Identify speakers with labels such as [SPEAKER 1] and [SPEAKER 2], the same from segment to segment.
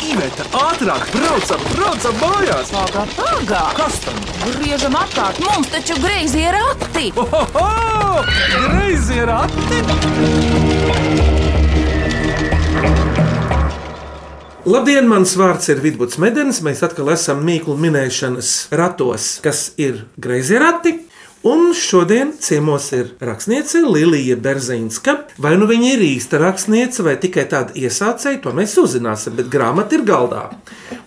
[SPEAKER 1] Iveta, ātrāk, braucam, braucam mājās!
[SPEAKER 2] Pagā, pagā!
[SPEAKER 1] Kas tam?
[SPEAKER 2] Griežam apkārt, mums taču greizi ir rati!
[SPEAKER 3] Oh.
[SPEAKER 1] Ohoho! Greizi ir ati!
[SPEAKER 3] Labdien, mans vārds ir Vidvuds Medens. Mēs atkal esam mīklu minēšanas ratos, kas ir greizi rati. Un šodien ciemos ir rakstniece Lilija Berzīnska. Vai nu viņa ir īsta rakstniece vai tikai tāda iesācēja, to mēs uzzināsim, bet grāmata ir galdā.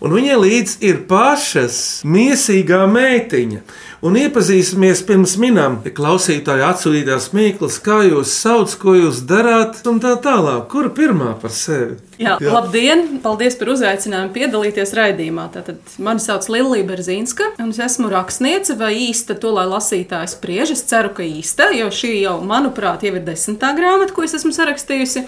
[SPEAKER 3] Un viņai līdzi ir pašas mīsīgā meitiņa. Un iepazīsimies pirms minām, ja klausītāji atsūtītās mīklas, kā jūs sauc, ko jūs darāt, un tā tālāk. Kur pirmā par sevi?
[SPEAKER 4] Jā, Jā. Labdien! Paldies par uzaicinājumu piedalīties raidījumā. Tātad, mani sauc Lilija Berzīnska, un es esmu rakstniece vai īsta to, lai lasītājs spriež. Es ceru, ka īsta, jo šī jau, manuprāt, jau ir desmitā grāmata, ko es esmu sarakstījusi.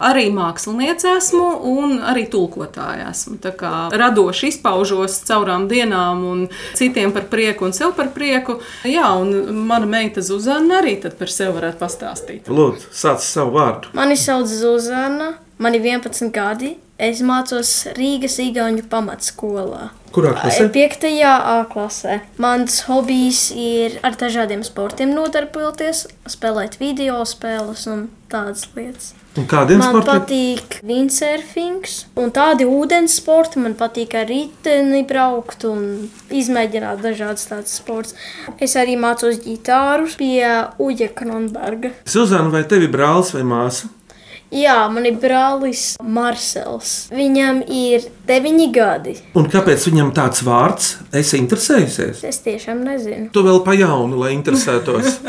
[SPEAKER 4] Arī māksliniece esmu un arī tulkotāja esmu. Tā kā radoši izpaužos caurām dienām un citiem par prieku un sev par prieku. Jā, un mana meita Zuzana arī tad par sevi varētu pastāstīt.
[SPEAKER 3] Lūdzu, sāc savu vārdu.
[SPEAKER 5] Mani sauc Zuzana, man ir 11 gadi. Es mācos Rīgas Igaunijas pamatskolā.
[SPEAKER 3] Kurā klasē?
[SPEAKER 5] 5. A klasē. Mans hobijs ir ar dažādiem sportiem nodarboties, spēlēt video spēles un tādas lietas.
[SPEAKER 3] Un kādiem
[SPEAKER 5] Man
[SPEAKER 3] sportiem?
[SPEAKER 5] patīk windsurfings, un tādi ūdens sporti. Man patīk ar riteni braukt un izmēģināt dažādas tādas sports. Es arī mācos ģitāru pie Uģa Kronberga.
[SPEAKER 3] Suzana, vai tev ir brālis vai māsa?
[SPEAKER 5] Jā, man ir brālis Marsels. Viņam ir deviņi gadi.
[SPEAKER 3] Un kāpēc viņam tāds vārds? Es interesējusies.
[SPEAKER 5] Es tiešām nezinu.
[SPEAKER 3] Tu vēl pa jaunu, lai interesētos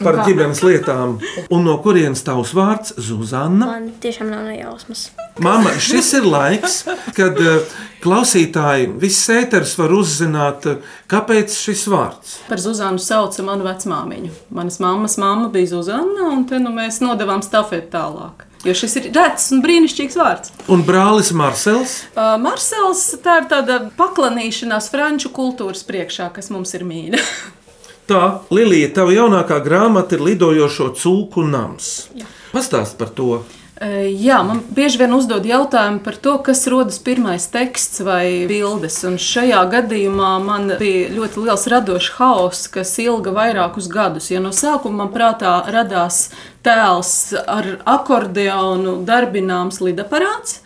[SPEAKER 3] par ģimenes lietām. Un no kurienes tavs vārds - Zuzanna?
[SPEAKER 5] Man tiešām nav nejausmas.
[SPEAKER 3] Māma, šis ir laiks, kad eh, klausītāji, viss ēters var uzzināt, eh, kāpēc šis vārds.
[SPEAKER 4] Par Zuzānu sauca manu vecmāmiņu. Manas mammas mamma bija Zuzana, un te nu mēs nodevām stafeti tālāk. Jo šis ir redzams un brīnišķīgs vārds.
[SPEAKER 3] Un brālis Marsels,
[SPEAKER 4] Uh, Marsels tā ir tāda paklanīšanās franču kultūras priekšā, kas mums ir mīļa.
[SPEAKER 3] tā Lilija, tava jaunākā grāmata ir lidojošo cūku nams. Pastāst par to.
[SPEAKER 4] Uh, Jā, man bieži vien uzdod jautājumu par to, kas rodas pirmais teksts vai bildes. Un šajā gadījumā man bija ļoti liels radošs haoss, kas ilga vairākus gadus. Jo no sākuma man prātā radās tēls ar akordeonu darbināms lidaparāts.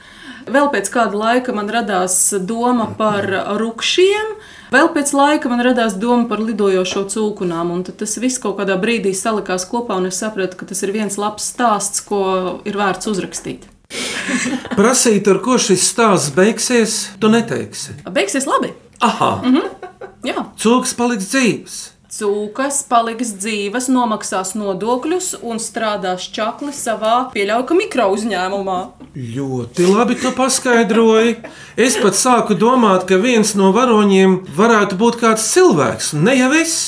[SPEAKER 4] Vēl pēc kāda laika man radās doma par rupšiem, vēl pēc laika man radās doma par lidojošo cūkunām. un tad Tas viss kaut kādā brīdī salikās kopā, un es sapratu, ka tas ir viens labs stāsts, ko ir vērts uzrakstīt.
[SPEAKER 3] Prasīt, ar ko šis stāsts beigsies, tu neteiksi.
[SPEAKER 4] Beigsies labi!
[SPEAKER 3] Aha!
[SPEAKER 4] Mhm. Jā.
[SPEAKER 3] Cūks paliks dzīves.
[SPEAKER 4] Cūkas paliks dzīves, nomaksās nodokļus un strādās čakli savā pieļaujamā mikro uzņēmumā.
[SPEAKER 3] Ļoti labi, ka paskaidroji. Es pat sāku domāt, ka viens no varoņiem varētu būt kāds cilvēks, un ne jau es,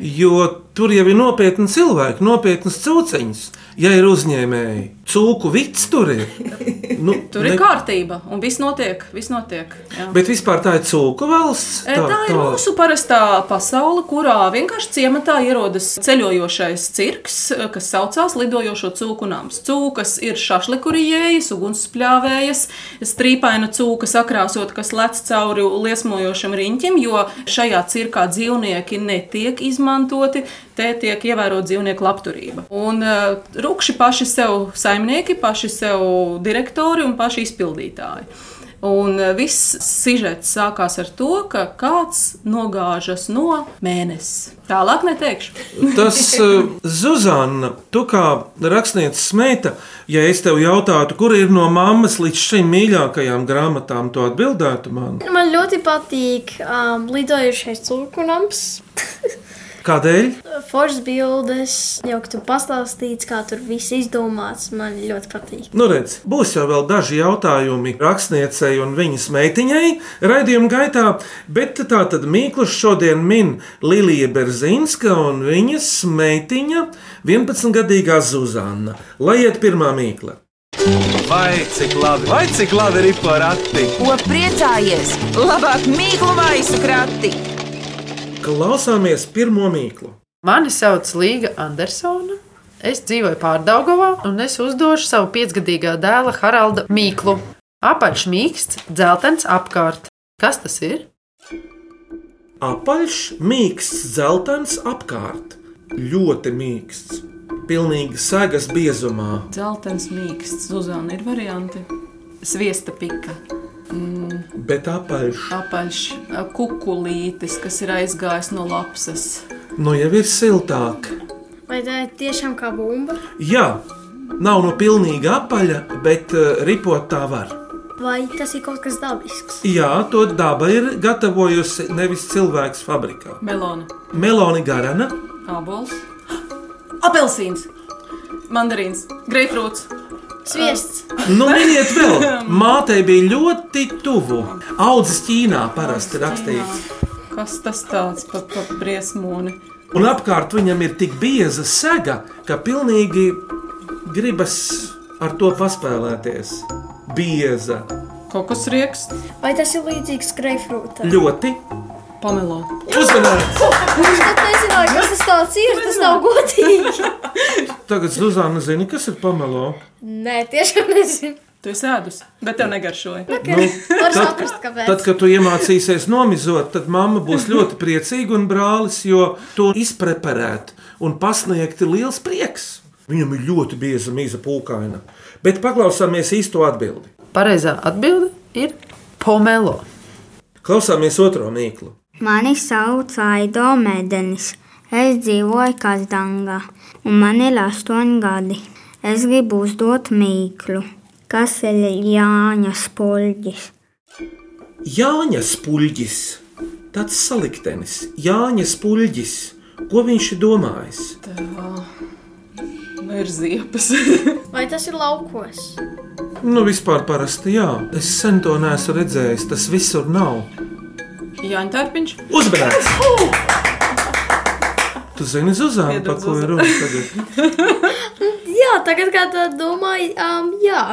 [SPEAKER 3] jo tur jau ir nopietni cilvēki, nopietnas cūciņas, ja ir uzņēmēji. Cūku vits tur ir. Nu,
[SPEAKER 4] Tur ne... ir kārtība un viss notiek. Viss notiek jā.
[SPEAKER 3] Bet vispār tā ir cūku valsts.
[SPEAKER 4] E, Eh, Tā, tā ir mūsu parastā pasaule, kurā vienkārši ciematā ierodas ceļojošais cirks, eh, kas saucās Lidojošo cūku nams. Cūkas ir šašlikurijas, ugunsspļāvējas, strīpaina cūka sakrāsot, kas lec cauri liesmojošam riņķim, jo šajā cirkā dzīvnieki netiek izmantoti. Te tiek ievērota dzīvnieku labturība. Un uh, rupši paši sev saimnieki, paši sev direktori un paši izpildītāji. Un eh, viss sižets sākās ar to, ka kāds nogāžas no mēnesis. Tālāk neteikšu.
[SPEAKER 3] Tas, eh, Zuzana, tu kā rakstniece smēta, ja es tev jautātu, kur ir no mammas līdz šim mīļākajām grāmatām, tu atbildētu man.
[SPEAKER 5] Man ļoti patīk um, lidojušais cūkunams.
[SPEAKER 3] Kādēļ?
[SPEAKER 5] Foršs bildes, jau tur pastāstīts, kā tur viss izdomāts. Man ļoti patīk.
[SPEAKER 3] Nu, redz, būs jau vēl daži jautājumi rakstniecei un viņas meitiņai raidījuma gaitā, bet tā tad Mīklus šodien min Lilija Berzīnska un viņas meitiņa 11-gadīgā Zuzana. Lai iet pirmā mīkla!
[SPEAKER 1] Vai cik labi, vai cik labi ir porati!
[SPEAKER 2] Ko priecājies? Labāk mīklu maisu krati!
[SPEAKER 3] Klausāmies pirmo mīklu!
[SPEAKER 6] Mani sauc Līga Andersona. Es dzīvoju Pārdagovā un es uzdošu savu piecgadīgā dēla Haralda Mīklu. Apaļš mīksts, dzeltens apkārt. Kas tas ir?
[SPEAKER 3] Apaļš, mīksts, zeltains apkārt. Ļoti mīksts. Pilnīgi sagas biezumā.
[SPEAKER 4] Zeltens mīksts, Zuzana, ir varianti. Sviesta pika,
[SPEAKER 3] Bet apaļš
[SPEAKER 4] apaļš, eh, kukulītis, kas ir aizgājis no lapas.
[SPEAKER 3] nu jau ir siltāk.
[SPEAKER 5] Vai tā ir tiešām kā bumba?
[SPEAKER 3] Jā, nav no pilnīgi apaļa, bet eh, ripot tā var.
[SPEAKER 5] Vai tas ir kaut kas dabisks?
[SPEAKER 3] Jā, to daba ir gatavojusi nevis cilvēks fabrikā.
[SPEAKER 4] Melona,
[SPEAKER 3] Meloni Garana,
[SPEAKER 4] abols, apelsīns, mandarīns, greifrūts.
[SPEAKER 5] Sviests.
[SPEAKER 3] nu miniet vēl, mātei bija ļoti tuvu. Audzis Ķīnā parasti rakstīts.
[SPEAKER 4] Kas tas tāds par pa briesmoni?
[SPEAKER 3] Un apkārt viņam ir tik bieza sega, ka pilnīgi gribas ar to paspēlēties. Bieza,
[SPEAKER 4] Kokos rieks,
[SPEAKER 5] Vai tas ir līdzīgs greifrūtam?
[SPEAKER 3] ļoti
[SPEAKER 4] pamelo.
[SPEAKER 3] uzmanīgs.
[SPEAKER 5] Es pat nezināju, kas tas tāds ir. Tas nav godīgi.
[SPEAKER 3] Tagad Zuzana zina, kas ir pamelo.
[SPEAKER 5] Nē, tiešām nezinu.
[SPEAKER 4] Tu esi ēdus, bet tev negaršoja.
[SPEAKER 5] Nu, Var
[SPEAKER 3] tad-
[SPEAKER 5] saprast, kāpēc.
[SPEAKER 3] Tad, kad tu iemācīsies nomizot, tad mamma būs ļoti priecīga un brālis, jo to izpreparēt un pasniegt ir liels prieks. Viņam ir ļoti bieza mīza pūkaina. Bet paklausāmies īsto atbildi.
[SPEAKER 6] Pareizā atbilde ir pomelo.
[SPEAKER 3] Klausāmies otro mīklu.
[SPEAKER 7] Mani sauc Aido Mēdenis. Es dzīvoju Kazdangā, un man ir astoņi gadi. Es gribu uzdot mīklu, kas ir Jāņa spulģis.
[SPEAKER 3] Jāņa spuļģis, tāds saliktenis, Jāņa spuļģis, ko viņš ir domājis?
[SPEAKER 4] Vai Nu, ir ziepes?
[SPEAKER 5] Vai tas ir laukos?
[SPEAKER 3] Nu, vispār parasti jā, es sen to neesmu redzējis, tas visur nav.
[SPEAKER 4] Jāņa tērpiņš,
[SPEAKER 3] Uzmanīgs! Tu zini, Zuzana, par ko ir runa tagad?
[SPEAKER 5] Jā, tagad kā tā domāju, um, jā.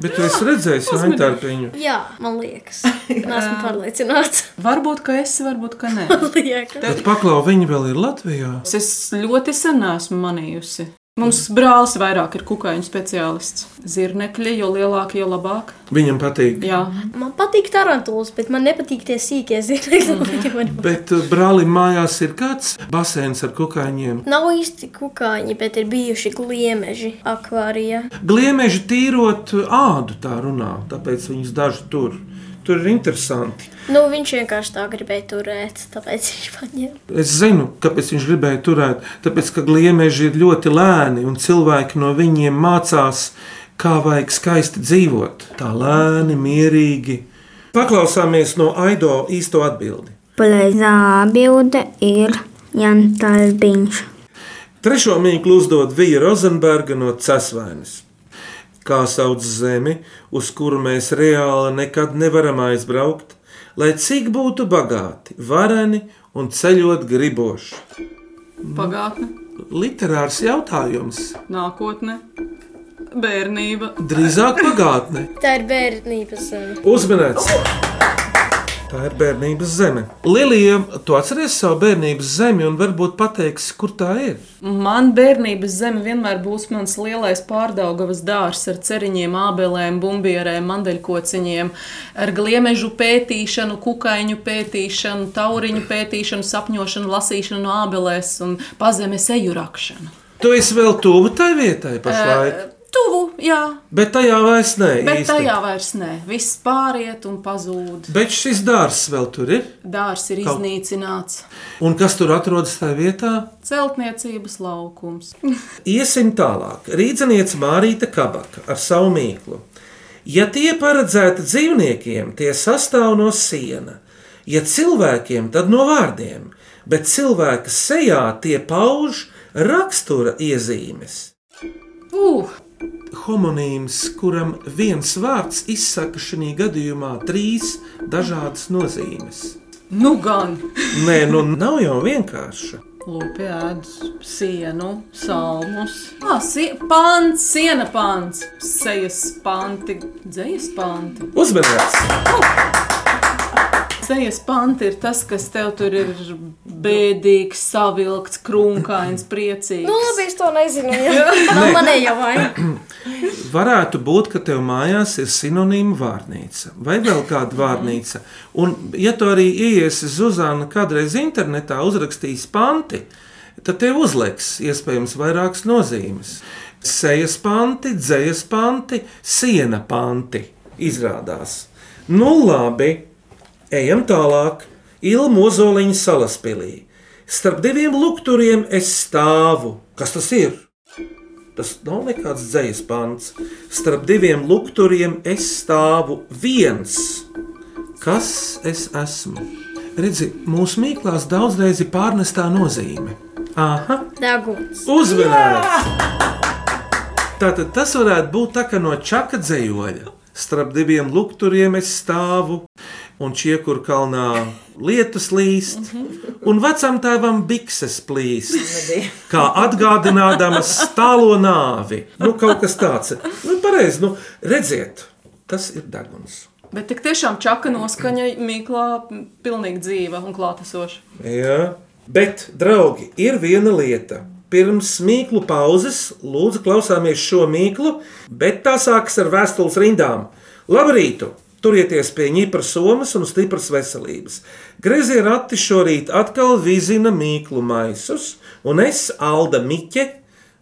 [SPEAKER 3] Bet tu esi redzējis Jāņa Tārpiņu.
[SPEAKER 5] jā, man liekas. Nesmu pārliecināts.
[SPEAKER 4] varbūt ka esi, varbūt ka nē.
[SPEAKER 5] Liekas.
[SPEAKER 3] Bet paklau, viņi vēl ir Latvijā.
[SPEAKER 4] Es ļoti sen esmu manījusi. Mums brālis vairāk ir kukaiņu speciālists. Zirnekļi, jo lielāki, jo labāk.
[SPEAKER 3] Viņam patīk.
[SPEAKER 4] Jā,
[SPEAKER 5] Man patīk tarantulas, bet man nepatīk tie sīkie zirgļi.
[SPEAKER 3] Bet uh, brālim mājās ir kāds basēns ar kukaiņiem.
[SPEAKER 5] Nav īsti kukaiņi, bet ir bijuši gliemeži akvārijā.
[SPEAKER 3] Gliemeži tīrot ādu tā runā, tāpēc viņus daži tur. Tur ir interesanti.
[SPEAKER 5] Nu, viņš vienkārši tā gribēja turēt, tāpēc viņš paņēma.
[SPEAKER 3] Es zinu, kāpēc viņš gribēja turēt. Tāpēc, ka gliemeži ir ļoti lēni un cilvēki no viņiem mācās, kā vajag skaisti dzīvot. Tā lēni, mierīgi. Paklausāmies no Aido īsto atbildi.
[SPEAKER 7] Pareizā atbilde ir Jānis Tārbiņš.
[SPEAKER 3] Trešo mīklu uzdod Vija Rozenberga no Cēsvainas. Kā sauc zemi, uz kuru mēs reāli nekad nevaram aizbraukt, lai cik būtu bagāti, vareni un ceļot griboši?
[SPEAKER 4] pagātne,
[SPEAKER 3] Literārs jautājums.
[SPEAKER 4] nākotne, bērnība.
[SPEAKER 3] Drīzāk pagātne.
[SPEAKER 5] Tā ir bērnības zeme.
[SPEAKER 3] Uzmanīts! Tā ir bērnības zeme. Lilija, tu atceries savu bērnības zemi un varbūt pateiksi, kur tā ir.
[SPEAKER 4] Man bērnības zeme vienmēr būs mans lielais pārdaugavas dārs ar ceriņiem, ābelēm, bumbierēm, mandeļkociņiem, ar gliemežu pētīšanu, kukaiņu pētīšanu, tauriņu pētīšanu, sapņošanu, lasīšanu ābelēs un pazemes eju rakšanu.
[SPEAKER 3] Tu esi vēl tuvu tai vietai pašlaik,
[SPEAKER 4] Tuvu, jā,
[SPEAKER 3] bet tajā vairs nē.
[SPEAKER 4] bet
[SPEAKER 3] īsti.
[SPEAKER 4] tajā vairs nē. Viss pāriet un pazūd.
[SPEAKER 3] Bet šis dārsts vēl tur ir.
[SPEAKER 4] Dārs ir
[SPEAKER 3] Kaut-
[SPEAKER 4] iznīcināts.
[SPEAKER 3] Un kas tur atrodas tajā vietā?
[SPEAKER 4] Celtniecības laukums.
[SPEAKER 3] Iesim tālāk. Rīdziniece Mārīta Kabaka ar savu mīklu. Ja tie paredzēti dzīvniekiem, tie sastāv no siena, ja cilvēkiem, tad no vārdiem, bet cilvēka sejā tie pauž rakstura iezīmes.
[SPEAKER 4] Uh,
[SPEAKER 3] Homonīms, kuram viens vārds izsaka šajā gadījumā trīs dažādas nozīmes.
[SPEAKER 4] nu gan!
[SPEAKER 3] Nē, nu nav jau vienkārša.
[SPEAKER 4] Lūpi ēdus, sienu, salmus. Ah, sie pants, siena pants, sejas panti, dzējas panti.
[SPEAKER 3] Uzmanīgs!
[SPEAKER 5] Es
[SPEAKER 4] sejas panti ir tas, kas tev tur ir bēdīgs, savilkts, krunkains, priecīgs.
[SPEAKER 5] Nu, labi, es to nezinu. Jā, man ir jau vaina.
[SPEAKER 3] Varētu būt, ka tev mājās ir sinonīma vārnīca vai vēl kāda vārnīca. Un, ja tu arī iesi Zuzana kādreiz internetā, uzrakstīs panti, tad tev uzliks iespējams vairākas nozīmes. Sejas panti, dzējas panti, siena panti izrādās. Nu labi, ejam tālāk. Ilmu ozoliņa salaspilī. Starp diviem lukturiem es stāvu. Kas tas ir? Tas nav nekāds dzīslis pants. Starp diviem lukturiem es stāvu viens. Kas es esmu? Redzi, mūsu mīklās daudzreiz ir pārnestā nozīme. Aha,
[SPEAKER 5] Deguns.
[SPEAKER 3] uzmanīgs! Tātad tas varētu būt tā, ka no čaka dzējoļa starp diviem lukturiem es stāvu. Un čiekur kalnā lietus līst, un vecam tēvam bikses plīst. Kā atgādinādamas tālo nāvi. Nu, kaut kas tāds. Nu, pareizi, nu, redziet, tas ir deguns.
[SPEAKER 4] Bet tik tiešām čaka noskaņa Mīklā pilnīgi dzīva un klātesoša.
[SPEAKER 3] Jā. Bet, draugi, ir viena lieta. Pirms mīklu pauzes lūdzu klausāmies šo mīklu, bet tā sākas ar vēstules rindām. Labrīt! Turieties pie ņipras somas un stipras veselības. Grezie rati šorīt atkal vizina mīklu maisus, un es, Alda Miķe,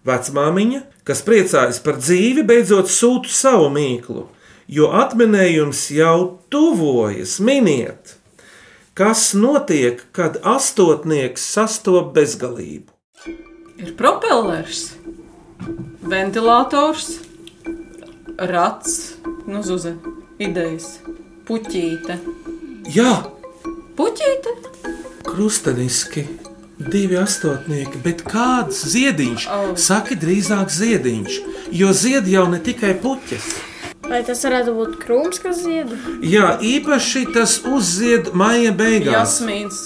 [SPEAKER 3] vecmāmiņa, kas priecājas par dzīvi, beidzot sūtu savu mīklu, jo atminējums jau tuvojas, miniet! Kas notiek, kad astotnieks sastopas bezgalību?
[SPEAKER 4] Ir propellers, ventilators, rats, nu zuze, idejas, puķīte.
[SPEAKER 3] Jā,
[SPEAKER 4] Puķīte?
[SPEAKER 3] krustaniski. Divi astotnieki, bet kāds ziediņš? Saki, drīzāk ziediņš, jo ziedi jau ne tikai puķis.
[SPEAKER 5] Vai tas varētu būt krūms, kas zied?
[SPEAKER 3] Jā, īpaši tas uzzied maija beigās.
[SPEAKER 4] Jasmīns.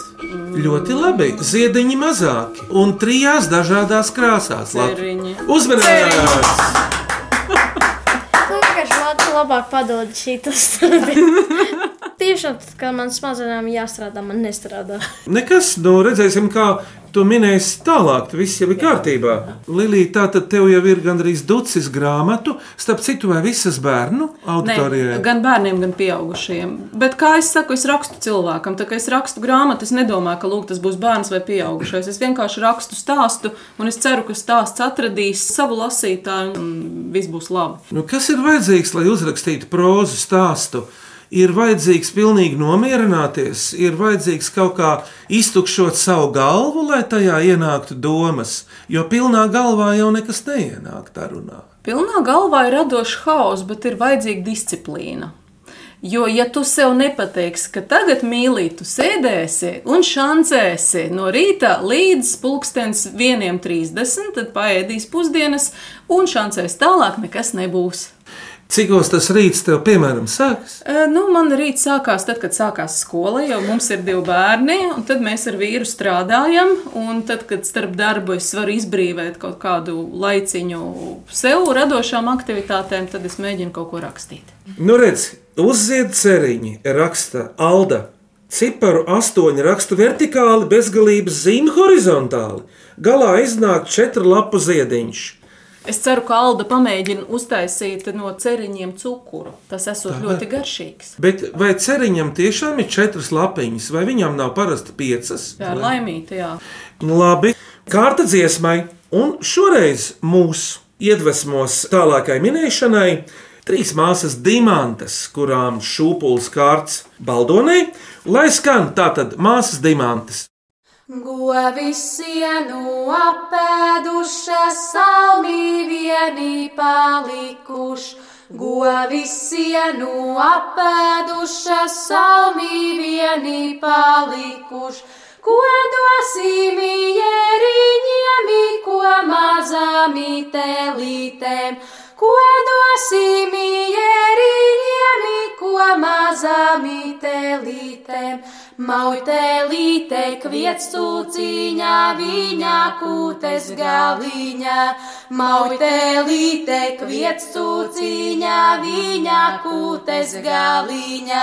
[SPEAKER 3] Ļoti labi. Ziediņi mazāki un trijās dažādās krāsās.
[SPEAKER 4] Ceriņi.
[SPEAKER 3] Uzmanības!
[SPEAKER 5] Tu vienkārši māci labāk padod šitas. Tiešām, tad, kad man smadzenēm jāstrādā, man nestrādā.
[SPEAKER 3] Nekas, nu redzēsim, kā tu minēsi tālāk. Tu Viss jau ir kārtībā. Lilija, tā tad tev jau ir gandrīz ducis grāmatu, starp citu, vai visas bērnu
[SPEAKER 4] Nē,
[SPEAKER 3] auditorijai.
[SPEAKER 4] gan bērniem, gan pieaugušiem. Bet, kā es saku, es rakstu cilvēkam. Tā kā es rakstu grāmatu, es nedomāju, ka lūk, tas būs bērns vai pieaugušais. Es vienkārši rakstu stāstu, un es ceru, ka stāsts atradīs savu lasītāju, un viss būs labi.
[SPEAKER 3] Nu, kas ir vajadzīgs, lai uzrakstītu prózu stāstu? Ir vajadzīgs pilnīgi nomierināties, ir vajadzīgs kaut kā iztukšot savu galvu, lai tajā ienāktu domas, jo pilnā galvā jau nekas neienāk tā runā.
[SPEAKER 4] Pilnā galvā ir radošs haoss, bet ir vajadzīga disciplīna. Jo, ja tu sev nepateiksi, ka tagad mīlīgi tu sēdēsi un šancēsi no rīta līdz pulkstenis 1.30, tad paēdīs pusdienas un šancēs tālāk nekas nebūs.
[SPEAKER 3] Cikos tas rīts tev, piemēram, sākas?
[SPEAKER 4] E, Nu, man rīts sākās tad, kad sākās skola, jo mums ir divi bērni, un tad mēs ar vīru strādājam. Un tad, kad starp darbu es varu izbrīvot kaut kādu laiciņu sev radošām aktivitātēm, tad es mēģinu kaut ko rakstīt.
[SPEAKER 3] Nu, redz, uzzied ceriņi, raksta Alda. Ciparu astoņi rakstu vertikāli, bezgalības zīme horizontāli. Galā iznāk četru lapu ziediņš.
[SPEAKER 4] Es ceru, ka Alda pamēģina uztaisīt no ceriņiem cukuru. Tas esot ļoti garšīgs.
[SPEAKER 3] Bet vai ceriņam tiešām ir četras lapiņas, vai viņam nav parasti piecas? Nu,
[SPEAKER 4] Tā ir laimīga, jā.
[SPEAKER 3] Labi, kārta dziesmai, un šoreiz mūs iedvesmos tālākai minēšanai trīs māsas dimantes, kurām šūpulis kārts baldonē, lai skan tātad māsas dimantes.
[SPEAKER 8] Govis sienu apēdušas, salmī vienī palikuš. Govis sienu apēdušas, salmī vienī palikuš. Ko dosim ieriņiem, i ko mazām telītēm? Ko dosim ieriņiem, i ko mazām telītēm? Mautelīte kvietstūciņā, viņa kūtes galīņā. Mautelīte kvietstūciņā, viņa kūtes galīņā.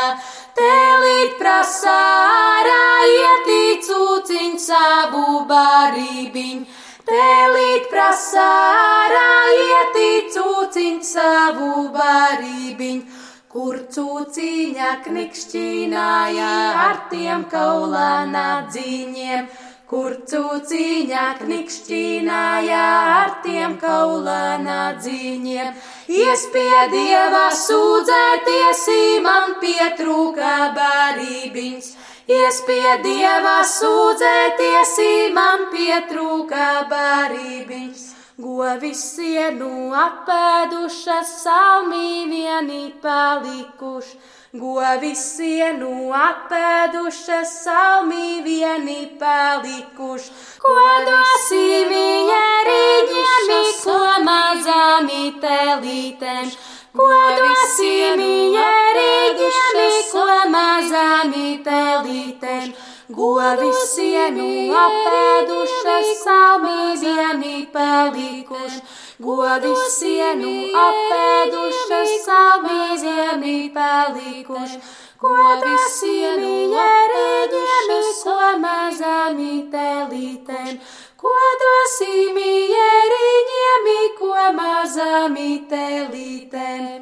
[SPEAKER 8] Telīt prasā ārā ietīt cūciņ savu barībiņu. Telīt prasā ārā ietīt cūciņ savu barībiņu. Kur cūciņa knikšķināja ar tiem kaulānā dziņiem, kur cūciņa knikšķināja ar tiem kaulānā dziņiem. Iespiedieva sūdzēties, man pietrūka barībiņš. Iespiedieva sūdzēties, man pietrūka barībiņš. Govisienu apēdušas salmī vieni palikuši, govisienu apēdušas salmī vieni palikuši. Ko dosi viņa riņķi, ko mazami telītēm? Ko dosi viņa riņķi, ko mazami telītēm? Govisienu apēdušas salmī vieni palikuši, govisienu apēdušas salmī vieni palikuši. Govisienu ierēdušas ko mazami telītēm, godosim ierīņiem, ko mazami telītēm.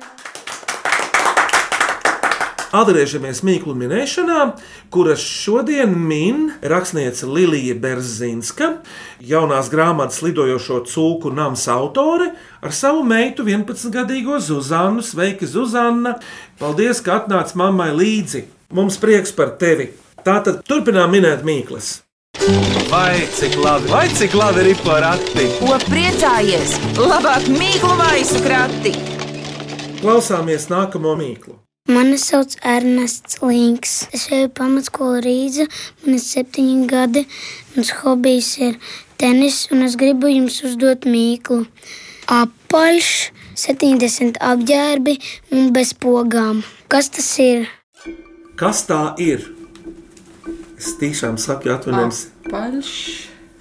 [SPEAKER 3] Atgriežamies mīklu minēšanā, kuras šodien min rakstniece Lilija Berzinska, jaunās grāmatas lidojošo cūku nams autore ar savu meitu 11-gadīgo Zuzannu. Sveiki, Zuzanna! Paldies, ka atnāci mammai līdzi! Mums prieks par tevi! Tātad turpinām minēt mīklas.
[SPEAKER 1] Vai cik labi, vai cik labi ir porakti?
[SPEAKER 2] Ko priecājies? Labāk mīklu maisu krati!
[SPEAKER 3] Klausāmies nākamo mīklu.
[SPEAKER 7] Mani sauc Ernests Links. Es eju pamatskolu Rīgā. Man ir septiņi gadi. Mans hobijs ir tenis, un es gribu jums uzdot mīklu. Apaļš, 70 apģērbi un bez pogām. Kas tas ir?
[SPEAKER 3] Kas tā ir? Es tiešām saku, atvainojos,
[SPEAKER 4] Paļš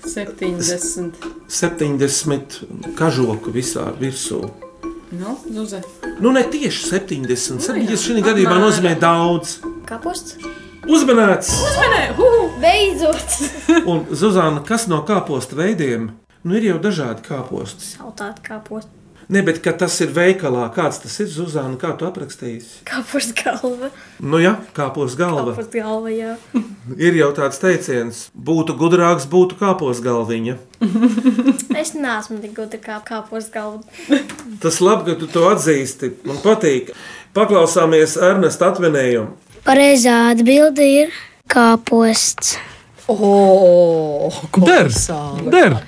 [SPEAKER 4] 70.
[SPEAKER 3] 70 kažoku visā virsū.
[SPEAKER 4] Nu, Zuze.
[SPEAKER 3] Nu, ne tieši 70, 70 šī
[SPEAKER 4] Nu, apmēram.
[SPEAKER 3] gadījumā nozīmē daudz.
[SPEAKER 5] Kapusts?
[SPEAKER 3] Uzmanīts!
[SPEAKER 4] Uzmanē, huhu!
[SPEAKER 5] Beidzot!
[SPEAKER 3] Un, Zuzana, kas no kāpostu veidiem? Nu, ir jau dažādi kāposti.
[SPEAKER 5] Saltāt kapusts.
[SPEAKER 3] Ne, bet kad tas ir veikalā, kāds tas ir, Zuzana, kā tu aprakstīsi?
[SPEAKER 5] Kapusts galva.
[SPEAKER 3] Nu, jā, kāpostu galva.
[SPEAKER 5] Kapusts galva, jā.
[SPEAKER 3] Ir jau tāds teiciens, būtu gudrāks, būtu kāpostu galviņa.
[SPEAKER 5] Es neesmu tik gudra kā kapusts galva.
[SPEAKER 3] Tas labi, ka tu to atzīsti. Man patīk. Paklausāmies Ernesta atvinējumu.
[SPEAKER 7] Pareizā atbilde ir kāposts.
[SPEAKER 6] Ooo!
[SPEAKER 9] Ders! Der!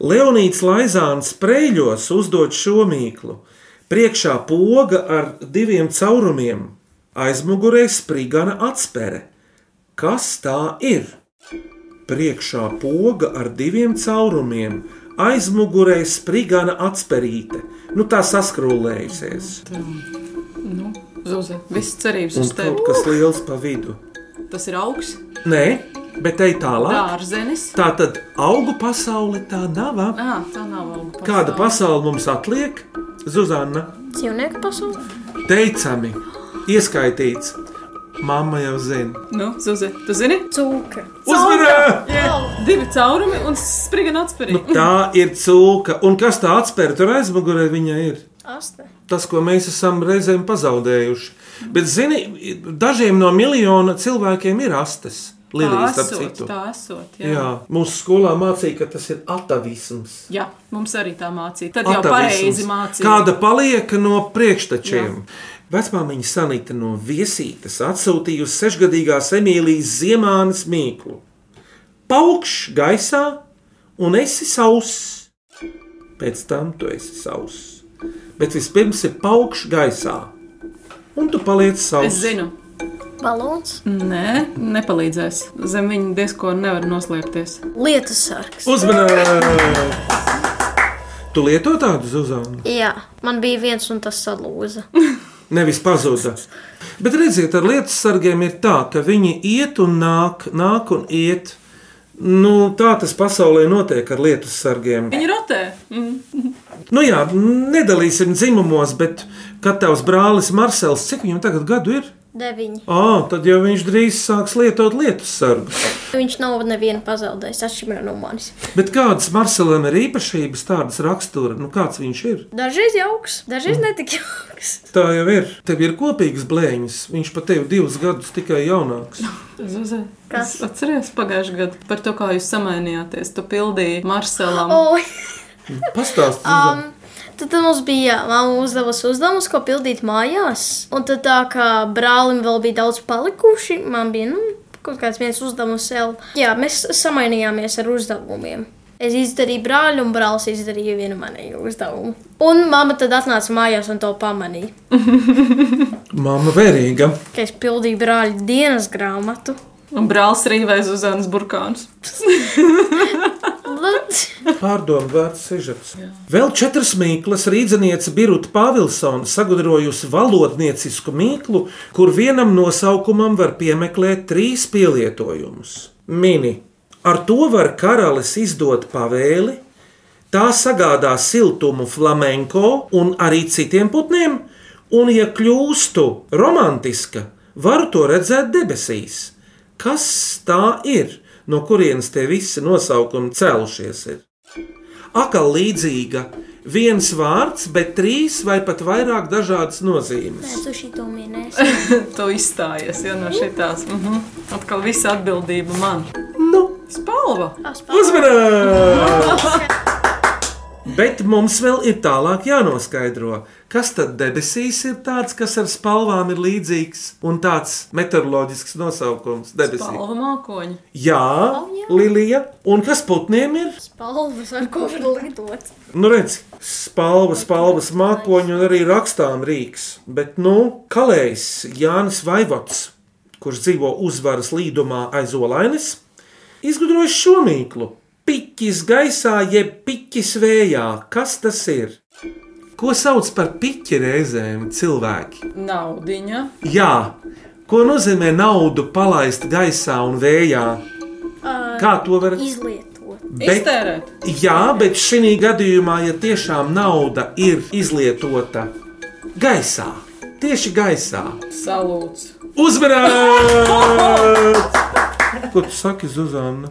[SPEAKER 3] Leonīds Laizāns Prēļos uzdod šo mīklu. Priekšā poga ar diviem caurumiem, aizmugurē sprigana atspere. Kas tā ir? Priekšā poga ar diviem caurumiem, aizmugurē sprigana atspērīte. Nu, tā saskrūlējusies.
[SPEAKER 4] Nu, Zuze, viss cerības
[SPEAKER 3] Un
[SPEAKER 4] uz
[SPEAKER 3] kaut
[SPEAKER 4] tevi.
[SPEAKER 3] kas liels pa vidu.
[SPEAKER 4] Tas ir augs,
[SPEAKER 3] Nē, bet ej tālāk.
[SPEAKER 4] dārzenis.
[SPEAKER 3] Tā tad augu pasaule tā nav. ā?
[SPEAKER 4] Ā, tā nav auga.
[SPEAKER 3] Kāda pasaule mums atliek? Zuzanna.
[SPEAKER 5] Dzīvnieku pasaule?
[SPEAKER 3] teicami, ieskaitīts. Māma jau zina.
[SPEAKER 4] Nu, Zuze, tu zini?
[SPEAKER 5] Cūka.
[SPEAKER 3] Uzmanība!
[SPEAKER 4] Divi caurumi un sprigana atspērīgi.
[SPEAKER 3] Nu, Tā ir cūka. Un kas tā atspēra tur aizmugurē viņa ir?
[SPEAKER 5] Aste.
[SPEAKER 3] Tas, ko mēs esam reizēm pazaudējuši. Bet, zini, dažiem no miljona cilvēkiem ir astes. Lilijas,
[SPEAKER 4] tā
[SPEAKER 3] starp
[SPEAKER 4] esot,
[SPEAKER 3] citu.
[SPEAKER 4] tā esot. Jā.
[SPEAKER 3] Jā, mūsu skolā mācīja, ka tas ir atavisms.
[SPEAKER 4] jā, mums arī tā mācīja. Tad jau
[SPEAKER 3] Atavisms.
[SPEAKER 4] pareizi mācīja.
[SPEAKER 3] Kāda paliek no priekštečiem? Vecmāmiņa Sanita no viesītes atsūtījusi sešgadīgās Emīlijas Ziemānes mīklu. Paukšs gaisā un esi sauss. Pēc tam tu esi sauss. Bet vispirms ir paukšs gaisā. Un tu paliec
[SPEAKER 4] Es
[SPEAKER 3] sauss.
[SPEAKER 4] zinu,
[SPEAKER 5] Balons.
[SPEAKER 4] nē, nepalīdzēs. Zem viņa diezko nevar noslēpties.
[SPEAKER 5] Lietas sargs.
[SPEAKER 3] Uzmanīgi! Tu lieto tādu zuzānu?
[SPEAKER 5] Jā, man bija viens un tas salūza.
[SPEAKER 3] nevis pazuda. Bet redziet, ar lietu sargiem ir tā, ka viņi iet un nāk, nāk un iet. Nu, tā tas pasaulē notiek ar lietu sargiem.
[SPEAKER 4] Viņi rotē. Mm.
[SPEAKER 3] Nu, jā, nedalīsim dzimumos, bet katrs brālis Marsels, cik viņam tagad gadu ir?
[SPEAKER 5] Deviņi.
[SPEAKER 3] Ah, tad jau viņš drīz sāks lietot lietu sargu.
[SPEAKER 5] Viņš nav nevienu pazaudējis, atšķirībā no manis.
[SPEAKER 3] Bet kādas Marselam ir īpašības, tādas rakstura, nu kāds viņš ir?
[SPEAKER 5] Dažreiz jauks, dažreiz netik jauks.
[SPEAKER 3] Tā jau ir. Tev ir kopīgs blēņas. Viņš pat tevi divus gadus tikai jaunāks.
[SPEAKER 4] Zuze,
[SPEAKER 5] Kas?
[SPEAKER 4] es Atceries pagājušajā gadā par to, kā jūs samainījāties. Tu pildīji Marselam.
[SPEAKER 5] Oh,
[SPEAKER 3] Pastāstiet,
[SPEAKER 5] um,
[SPEAKER 3] um,
[SPEAKER 5] tad mums bija mamma uzdevusi uzdevumus, ko pildīt mājās. Un tad tā kā brālim vēl bija daudz palikuši, man bija nu, kaut kāds viens uzdevums vēl. Jā, mēs samainījāmies ar uzdevumiem. Es izdarīju brāli, un brālis izdarīja vienu manēju uzdevumu. Un mamma tad atnāca mājās un to pamanīja,
[SPEAKER 3] Māma vērīga.
[SPEAKER 5] ka es pildīju brāļa dienas grāmatu.
[SPEAKER 4] Un brālis rīvēja Zuzanas burkānus.
[SPEAKER 5] Lūdzu.
[SPEAKER 3] Pārdomu vērts sižets. Vēl četras mīklas rīzniece Birta Pāvilsona sagudrojusi valodniecisku mīklu, kur vienam nosaukumam var piemeklēt trīs pielietojumus. Mini. Ar to var karalis izdot pavēli, tā sagādā siltumu flamenko un arī citiem putniem, un, ja kļūstu romantiska, var to redzēt debesīs. Kas tā ir? No kurienes tie visi nosaukumi cēlušies? Ir? Akal līdzīga viens vārds, bet trīs vai pat vairāk dažādas nozīmes.
[SPEAKER 5] Tu šī to minēsi.
[SPEAKER 4] tu izstājies ja, no šitās. Mm -hmm. Atkal visa atbildība man.
[SPEAKER 3] Nu,
[SPEAKER 4] Spalva!
[SPEAKER 3] uzmanības! Bet mums vēl ir tālāk jānoskaidro, kas tad debesīs ir tāds, kas ar spalvām ir līdzīgs un tāds meteoroloģisks nosaukums debesīm.
[SPEAKER 4] Spalva mākoņi.
[SPEAKER 3] Jā, Lilija, un kas putniem ir?
[SPEAKER 5] Palvas, ar ko var lidot.
[SPEAKER 3] Nu, redz, spalva, spalva, mākoņi un arī rakstām rīks. Bet, nu, kalējs Jānis Vaivots, kurš dzīvo uzvaras līdumā aiz olainis, izgudroja šo mīklu. Piķis gaisā, jeb piķis vējā. Kas tas ir? Ko sauc par piķi reizēm cilvēki?
[SPEAKER 4] Naudiņa.
[SPEAKER 3] Jā, ko nozīmē naudu palaist gaisā un vējā? Kā to var
[SPEAKER 5] Izlietot.
[SPEAKER 3] Bet-
[SPEAKER 4] Iztērēt.
[SPEAKER 3] Jā, bet šī gadījumā, ja tiešām nauda ir izlietota gaisā, tieši gaisā,
[SPEAKER 4] Salūts.
[SPEAKER 3] uzvarēt! Ko tu saki, Zuzana?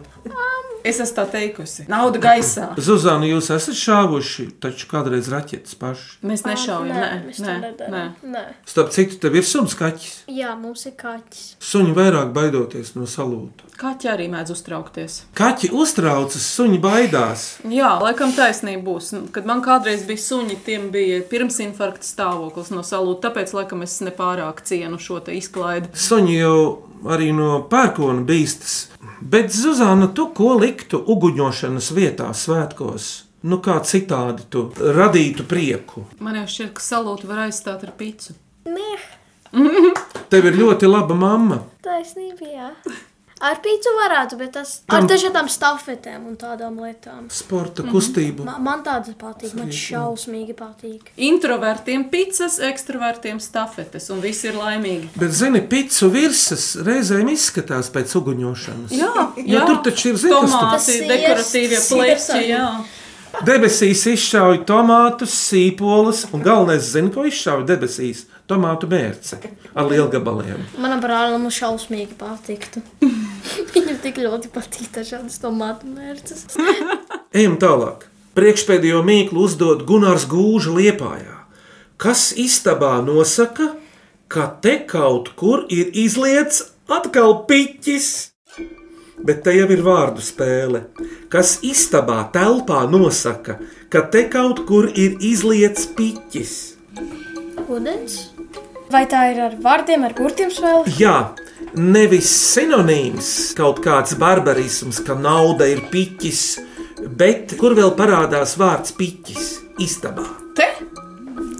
[SPEAKER 4] Es esmu tā teikusi. Nauda gaisā.
[SPEAKER 3] Zuzana, jūs esat šāvuši, taču kādreiz raķetes paši.
[SPEAKER 4] Mēs nešaujam. Nē,
[SPEAKER 5] mēs
[SPEAKER 4] nē,
[SPEAKER 5] to
[SPEAKER 4] nē,
[SPEAKER 5] nedarām.
[SPEAKER 4] nē.
[SPEAKER 5] nē.
[SPEAKER 3] Starp citu, tev ir suns kaķis.
[SPEAKER 5] Jā, mums ir kaķis.
[SPEAKER 3] Suņi vairāk baidoties no salūta.
[SPEAKER 4] Kaķi arī mēdz uztraukties.
[SPEAKER 3] Kaķi uztraucas, suņi baidās.
[SPEAKER 4] Jā, laikam taisnība būs. Nu, Kad man kādreiz bija suņi, tiem bija pirmsinfarkta stāvoklis no salūta. Tāpēc, laikam, es nepārāk cienu šo te izklaidi.
[SPEAKER 3] Suņi jau arī no pērkona bīstas. Bet, Zuzana, tu ko liktu uguņošanas vietā svētkos? Nu, kā citādi tu radītu prieku?
[SPEAKER 4] Man jau šķiet, ka salūtu var aizstāt ar pitu.
[SPEAKER 5] Nē,
[SPEAKER 3] Tev ir ļoti laba mamma.
[SPEAKER 5] taisnība, jā. Ar pīci varētu, bet tas ar dažādām stafetēm un tādām lietām.
[SPEAKER 3] Sporta kustība.
[SPEAKER 5] Man, man tādas patīk, man šausmīgi patīk.
[SPEAKER 4] Introvertiem pīcis, ekstravertiem stafetes, un visi ir laimīgi.
[SPEAKER 3] Bet, zini, pīcis virsmas reizēm izskatās pēc uguņošanas.
[SPEAKER 4] Jā,
[SPEAKER 3] Jo tur taču ir zini, kas tur-
[SPEAKER 5] Tas
[SPEAKER 4] tomāti,
[SPEAKER 5] sirds,
[SPEAKER 4] dekoratīvie
[SPEAKER 5] sirds
[SPEAKER 4] plēķi.
[SPEAKER 5] arī.
[SPEAKER 4] Jā,
[SPEAKER 3] Debesīs izšauja tomātus, sīpolus, un galvenais, zini, ko izšauja debesīs - tomātu mērce ar lielgabaliem.
[SPEAKER 5] Manam brālim šausmīgi patiktu. Viņam tik ļoti patīk dažādas tomātu mērces.
[SPEAKER 3] Ejam tālāk. Priekšpēdējo mīklu uzdod Gunārs Gūža liepājā. Kas istabā nosaka, ka te kaut kur ir izlietas atkal piķis? Bet te jau ir vārdu spēle. Kas istabā telpā nosaka, ka te kaut kur ir izlietas piķis?
[SPEAKER 5] Vodens? Vai tā ir ar vārdiem, ar burtiem spēle?
[SPEAKER 3] Jā, nevis sinonīms kaut kāds barbarisms, ka nauda ir piķis, bet kur vēl parādās vārds piķis? Istabā.
[SPEAKER 4] te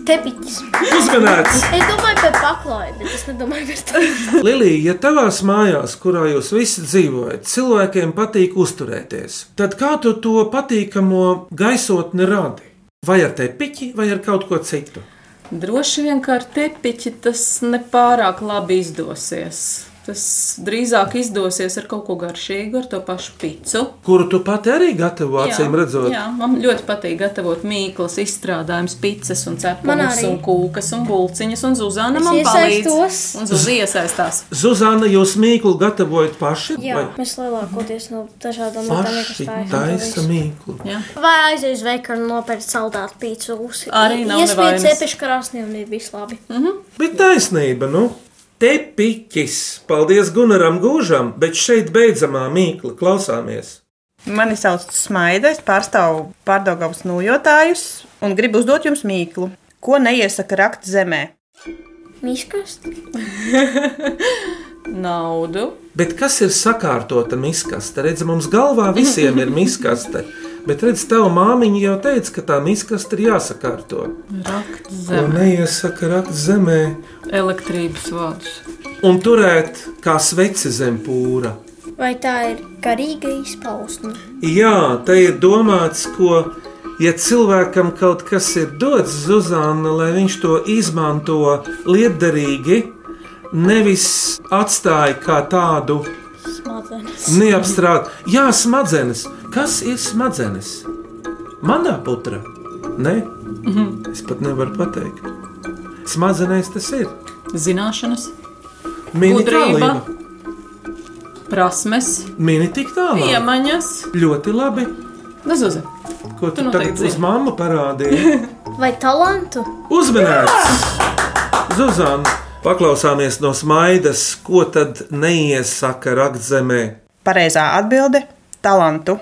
[SPEAKER 5] Tepiķis.
[SPEAKER 3] Uzmanīts!
[SPEAKER 5] Es domāju, ka paklāja, bet es nedomāju, ka tas ir.
[SPEAKER 3] Lilija, ja tavās mājās, kurā jūs visi dzīvojat, cilvēkiem patīk uzturēties, tad kā tu to patīkamo gaisotni radi? Vai ar tepiķi, vai ar kaut ko citu?
[SPEAKER 4] Droši vien kā ar tepiķi tas nepārāk labi izdosies. Tas drīzāk izdosies ar kaut ko garšīgu, ar to pašu picu.
[SPEAKER 3] Kuru tu pati arī gatavo, acīm redzot?
[SPEAKER 4] jā, man ļoti patīk gatavot mīklas, izstrādājums, pitas, un
[SPEAKER 5] Man
[SPEAKER 4] cepures,
[SPEAKER 5] arī.
[SPEAKER 4] un kūkas, un bulciņas, un zuzāna
[SPEAKER 5] Es
[SPEAKER 4] man palīdz.
[SPEAKER 5] iesaistos.
[SPEAKER 4] Un zuzī iesaistās.
[SPEAKER 3] Zuzana, jūs mīklu gatavojat paši?
[SPEAKER 5] Jā, mēs lielākoties no dažādām lietām
[SPEAKER 3] paši
[SPEAKER 5] vienkārši
[SPEAKER 3] taisa
[SPEAKER 5] taisām.
[SPEAKER 3] mīklu.
[SPEAKER 4] Jā.
[SPEAKER 5] Vai aiziet uz veikalu un nopirkt saldātu pīci uz
[SPEAKER 4] Arī nav nevainas. Hm?
[SPEAKER 5] cepišu krāsnī un ir viss labi.
[SPEAKER 3] Bet taisnība, nu, te piķis. Paldies Gunaram Gūžam, bet šeit beidzamā mīkla klausāmies.
[SPEAKER 9] Mani sauc Smaida, es pārstāvu pārdagāvus nojotājus un gribu uzdot jums mīklu. Ko neiesaka rakt zemē?
[SPEAKER 5] Miškast?
[SPEAKER 4] Naudu.
[SPEAKER 3] Bet kas ir sakārtota miskaste? Redz, mums galvā visiem ir miskaste. Bet, redz, tev māmiņa jau teica, ka tā miskaste ir jāsakārto.
[SPEAKER 4] Rakt
[SPEAKER 3] Ko
[SPEAKER 4] zem.
[SPEAKER 3] neiesaka rakt zemē
[SPEAKER 4] Elektrības vārds.
[SPEAKER 3] un turēt kā sveci zem pūra.
[SPEAKER 5] Vai tā ir garīga izpausme?
[SPEAKER 3] Jā, te ir domāts, ko, ja cilvēkam kaut kas ir dots, Zuzana, lai viņš to izmanto liederīgi, nevis atstāja kā tādu
[SPEAKER 5] Smadzenes.
[SPEAKER 3] neapstrādātu. Jā, smadzenes. Kas ir smadzenes? Manā putra? Nē,
[SPEAKER 4] Mhm.
[SPEAKER 3] es pat nevaru pateikt. Smadzenēs tas ir.
[SPEAKER 4] Zināšanas,
[SPEAKER 3] Mini
[SPEAKER 4] Gudrība.
[SPEAKER 3] tālība.
[SPEAKER 4] prasmes,
[SPEAKER 3] Mini tik tālu.
[SPEAKER 4] iemaņas.
[SPEAKER 3] Ļoti labi.
[SPEAKER 4] Nu, Zuzi,
[SPEAKER 3] Ko tu, tu
[SPEAKER 4] noteikti
[SPEAKER 3] tagad
[SPEAKER 4] zini.
[SPEAKER 3] uz mammu parādīji?
[SPEAKER 5] Vai talantu?
[SPEAKER 3] Uzmanīgs! Zuzana, paklausāmies no smaidas, ko tad neiesaka raktzemē.
[SPEAKER 9] Pareizā atbilde - talantu.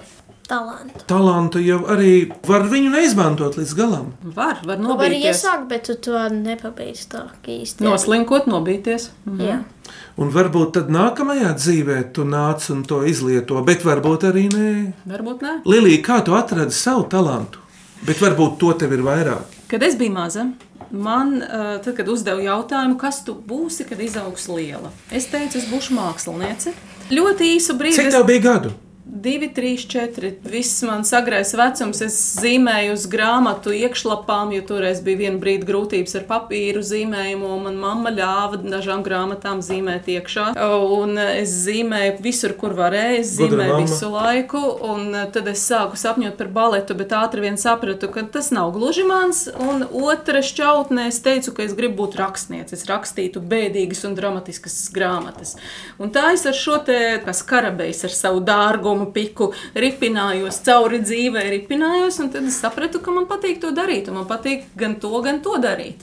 [SPEAKER 5] Talantu.
[SPEAKER 3] Talantu jau arī var viņu neizmantot līdz galam.
[SPEAKER 4] var, var
[SPEAKER 5] Tu vari
[SPEAKER 4] nobīties.
[SPEAKER 5] Nu, iesākt, bet tu to nepabeigsi tā īsti.
[SPEAKER 4] Noslinkot, nobīties. Mm,
[SPEAKER 5] Jā.
[SPEAKER 3] Un varbūt tad nākamajā dzīvē tu nāc un to izlieto, bet varbūt arī nē.
[SPEAKER 4] Varbūt nē.
[SPEAKER 3] Lilija, kā tu atradi savu talantu? Bet varbūt to tev ir vairāk.
[SPEAKER 4] Kad es biju maza, man, eh, tad, kad uzdevu jautājumu, kas tu būsi, kad izaugs liela, es teicu, es būšu māksliniece. Ļoti īsu brīdi,
[SPEAKER 3] Cik
[SPEAKER 4] es
[SPEAKER 3] tev bija gadu?
[SPEAKER 4] 2, 3, 4. Viss man sagrājas vecums, es zīmēju uz grāmatu iekšlapām, jo toreiz bija viena brīdi grūtības ar papīru zīmējumu. un Man mamma ļāva dažām grāmatām zīmēt iekšā. Un es zīmēju visur, kur varēju. Es
[SPEAKER 3] Gudra
[SPEAKER 4] zīmēju
[SPEAKER 3] mamma.
[SPEAKER 4] visu laiku. Un eh, tad es sāku sapņot par baletu, bet ātri vien sapratu, ka tas nav gluži mans. Un otrā šķautnē es teicu, ka es gribu būt rakstniece. Es rakstītu bēdīgas un dramatiskas grāmatas. Un tā es ar šo te kas karabējas ar savu dārgumu piku ripinājos cauri dzīvē, ripinājos. Un tad es sapratu, ka man patīk to darīt. Un man patīk gan to, gan to darīt.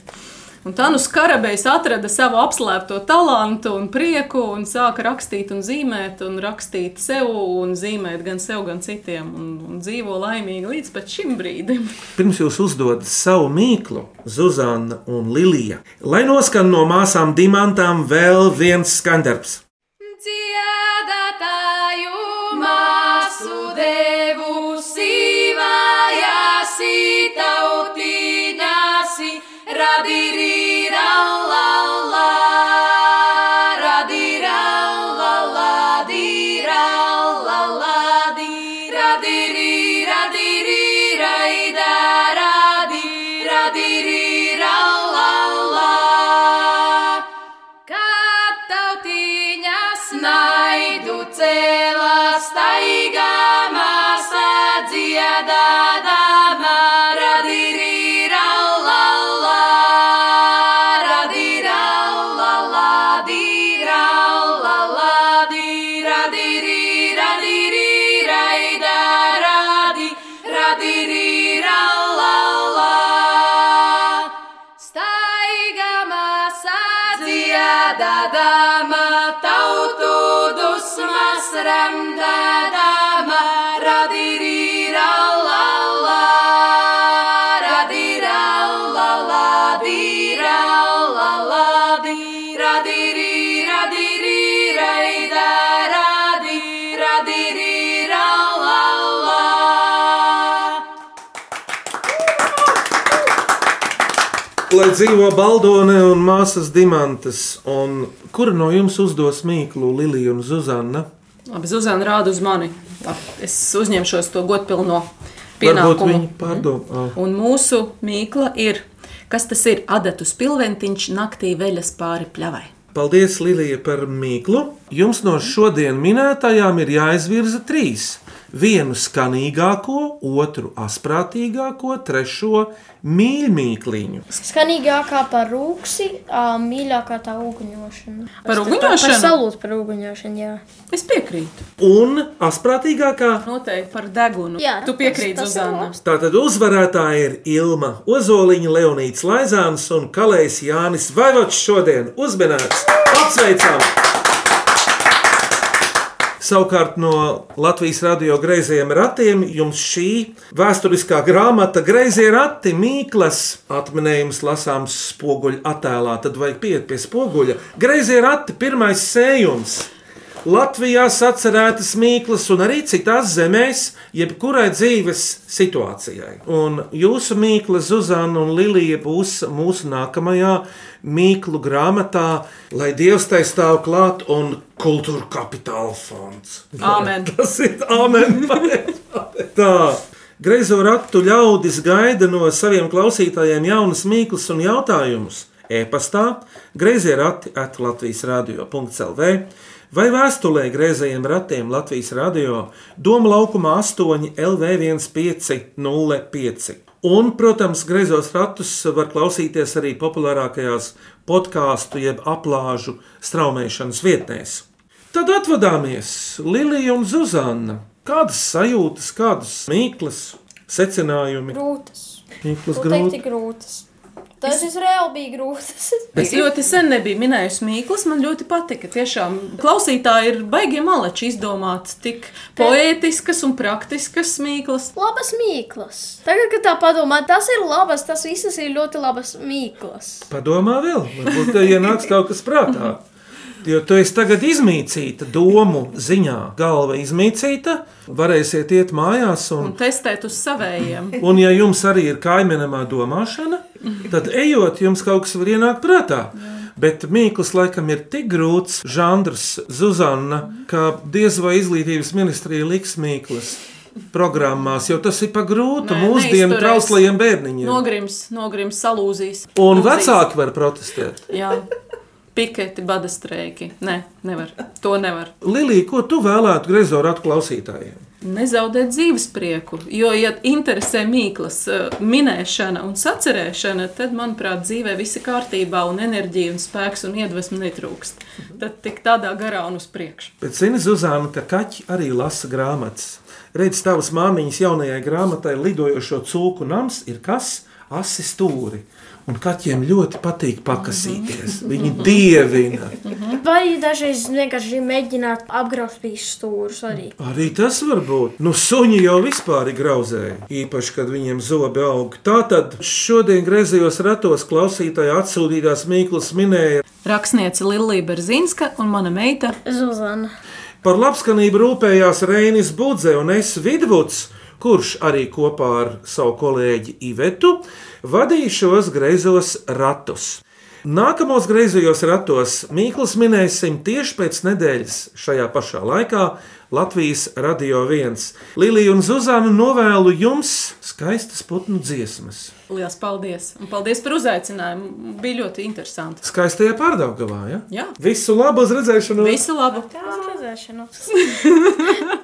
[SPEAKER 4] Un tā nu skarabējs atrada savu apslēpto talantu un prieku un sāka rakstīt un zīmēt, un rakstīt sev un zīmēt gan sev, gan citiem, un, un dzīvo laimīgi līdz pat šim brīdim.
[SPEAKER 3] Pirms jūs uzdodat savu mīklu, Zuzana un Lilija, lai noskan no māsām dimantām vēl viens skandarbs.
[SPEAKER 8] Dziedātāju māsu devu sīvājāsi tautīnāsi radirīrallallā, radirallallā, dirallallā, diradirī, radirī, raidā, radī, radirīrallallā. Kad tautiņa snaidu cēlā staigā māsā dziedādāmā radirīra lallā, radirā lallā, dirā lallā, dirā dirīra dirīra idā radi, radirīra lallā. Staigā māsā dziedādāmā, tautu dusmas ramdādāmā, radirīra lallā, radirā lallā, dirā lallā, radirīra dirīra idā radi, radirīra lallā.
[SPEAKER 3] Lai dzīvo Baldone un māsas dimantas, un kura no jums uzdos mīklu, Lilija un Zuzana?
[SPEAKER 4] Labi, Zuzana rāda uz mani. Tā, es uzņemšos to godpilno
[SPEAKER 3] Varbūt Ah.
[SPEAKER 4] pienākumu. Mhm.
[SPEAKER 3] viņi pārdomā.
[SPEAKER 4] Un mūsu mīkla ir, Kas tas ir? Adatu spilventiņš naktī veļas pāri pļavai.
[SPEAKER 3] Paldies, Lilija, par mīklu. Jums no šodien minētajām ir jāizvirza trīs. Vienu skanīgāko, otru asprātīgāko, trešo mīļmīkliņu.
[SPEAKER 5] Skanīgākā par rūksi, ā, mīļākā tā uguņošana.
[SPEAKER 4] Par
[SPEAKER 5] Par
[SPEAKER 4] uguņošanu
[SPEAKER 5] salūtu par uguņošanu, jā.
[SPEAKER 4] es piekrītu.
[SPEAKER 3] Un asprātīgākā
[SPEAKER 4] Noteikti par degunu.
[SPEAKER 5] Jā,
[SPEAKER 4] tu piekrīti,
[SPEAKER 5] tas- tas ir
[SPEAKER 4] Zuzana.
[SPEAKER 5] labs.
[SPEAKER 3] Tātad uzvarētāji ir Ilma Ozoliņa, Leonīts Laizāns un Kalējs Jānis Vaivots šodien uzminēts. Apsveicam! Savukārt no Latvijas radio greizējiem ratiem jums šī vēsturiskā grāmata Greizie rati Mīklas atminējums lasāms spoguļa attēlā. Tad vajag pieiet pie spoguļa. Greizie rati pirmais sējums. Latvijā atcerētas mīklas un arī citās zemēs, jebkurai dzīves situācijai. Un jūsu mīkla, Zuzana un Lilija, būs mūsu nākamajā mīklu grāmatā, lai Dievs tai stāv klāt un kultūra kapitāla fonds.
[SPEAKER 4] Āmen.
[SPEAKER 3] Tas ir amen. Tā. Greizo ratu ļaudis gaida no saviem klausītājiem jaunas mīklas un jautājumus. E-pastā, grazījā rati at Latvijas radio.clv vai vēstulē grazējiem ratiem Latvijas radio Doma laukumā 8 LV1505. Un, protams, grazos ratus var klausīties arī populārākajās podkāstu jeb aplāžu straumēšanas vietnēs. Tad atvadāmies Lilija un Zuzana. Kādas sajūtas, kādas mīklas, secinājumi?
[SPEAKER 5] Grūtas.
[SPEAKER 3] Mīklas
[SPEAKER 5] Noteikti
[SPEAKER 3] grūti.
[SPEAKER 5] grūtas. Dažas reāli bija grūtas.
[SPEAKER 4] Es ļoti sen nebiju minējusi mīklas, man ļoti patika. Tiešām klausītāji ir baigi malači izdomāt tik poētiskas un praktiskas mīklas.
[SPEAKER 5] Labas mīklas. Tagad, kad tā padomā, tas ir labas, tas visas ir ļoti labas mīklas.
[SPEAKER 3] Padomā vēl, varbūt tev ienāks kaut kas prātā. Jo tu esi tagad izmīcīta domu ziņā, galva izmīcīta, varēsiet iet mājās un
[SPEAKER 4] Un testēt uz savējiem.
[SPEAKER 3] Un, ja jums arī ir kaimiņamā domāšana, tad ejot, jums kaut kas var ienākt prātā. Bet Mīkls laikam ir tik grūts žanrs, Zuzana, ka diez vai izglītības ministrija liks Mīklas programmās, jo tas ir pa grūtu
[SPEAKER 4] Nē,
[SPEAKER 3] mūsdienu
[SPEAKER 4] neizturēs.
[SPEAKER 3] trauslajiem bērniņiem.
[SPEAKER 4] Nogrims, nogrims, salūzīs.
[SPEAKER 3] Un
[SPEAKER 4] Lūzīs.
[SPEAKER 3] vecāki var protestēt.
[SPEAKER 4] Jā. Piketi, bada streiki. Nē, nevar. To nevar.
[SPEAKER 3] Lilija, ko tu vēlētu grezoru atklausītājiem?
[SPEAKER 4] Nezaudēt dzīves prieku, jo, ja interesē mīklas eh, minēšana un sacerēšana, tad, manuprāt, dzīvē viss ir kārtībā, un enerģija, un spēks un iedvesma netrūkst. Tad tik tādā garā un uz priekšu.
[SPEAKER 3] Bet zini, Zuzana, ka kaķi arī lasa grāmatas. Redz, tavas māmiņas jaunajai grāmatai lidojošo cūku nams ir kas? Asi stūri. Un kaķiem ļoti patīk pakasīties. Viņi dievina.
[SPEAKER 5] Vai dažreiz vienkārši mēģināt apgrauzt visus stūrus arī.
[SPEAKER 3] Arī tas var būt. Nu, suņi jau vispār ir grauzēji, īpaši, kad viņiem zobi aug. Tātad šodien griezījos ratos klausītāja atsūtītās Mīklas minēja
[SPEAKER 4] Rakstniece Lilija Berzinska un mana meita
[SPEAKER 5] Zuzana.
[SPEAKER 3] Par labskanību rūpējās Reinis Budze un es Vidvuds, kurš arī kopā ar savu kolēģi Ivetu vadīja šos greizos ratus. Nākamos greizajos ratos Mīkls minēsim tieši pēc nedēļas šajā pašā laikā Latvijas Radio 1. Lilija un Zuzana novēlu jums skaistas putnu dziesmas.
[SPEAKER 4] Lielas paldies! Un paldies par uzaicinājumu! Bija ļoti interesanti!
[SPEAKER 3] Skaistajā pārdaugavā, ja?
[SPEAKER 4] Jā.
[SPEAKER 3] Visu labu uz redzēšanos!
[SPEAKER 4] Visu labu!
[SPEAKER 5] Uz redzēšanos.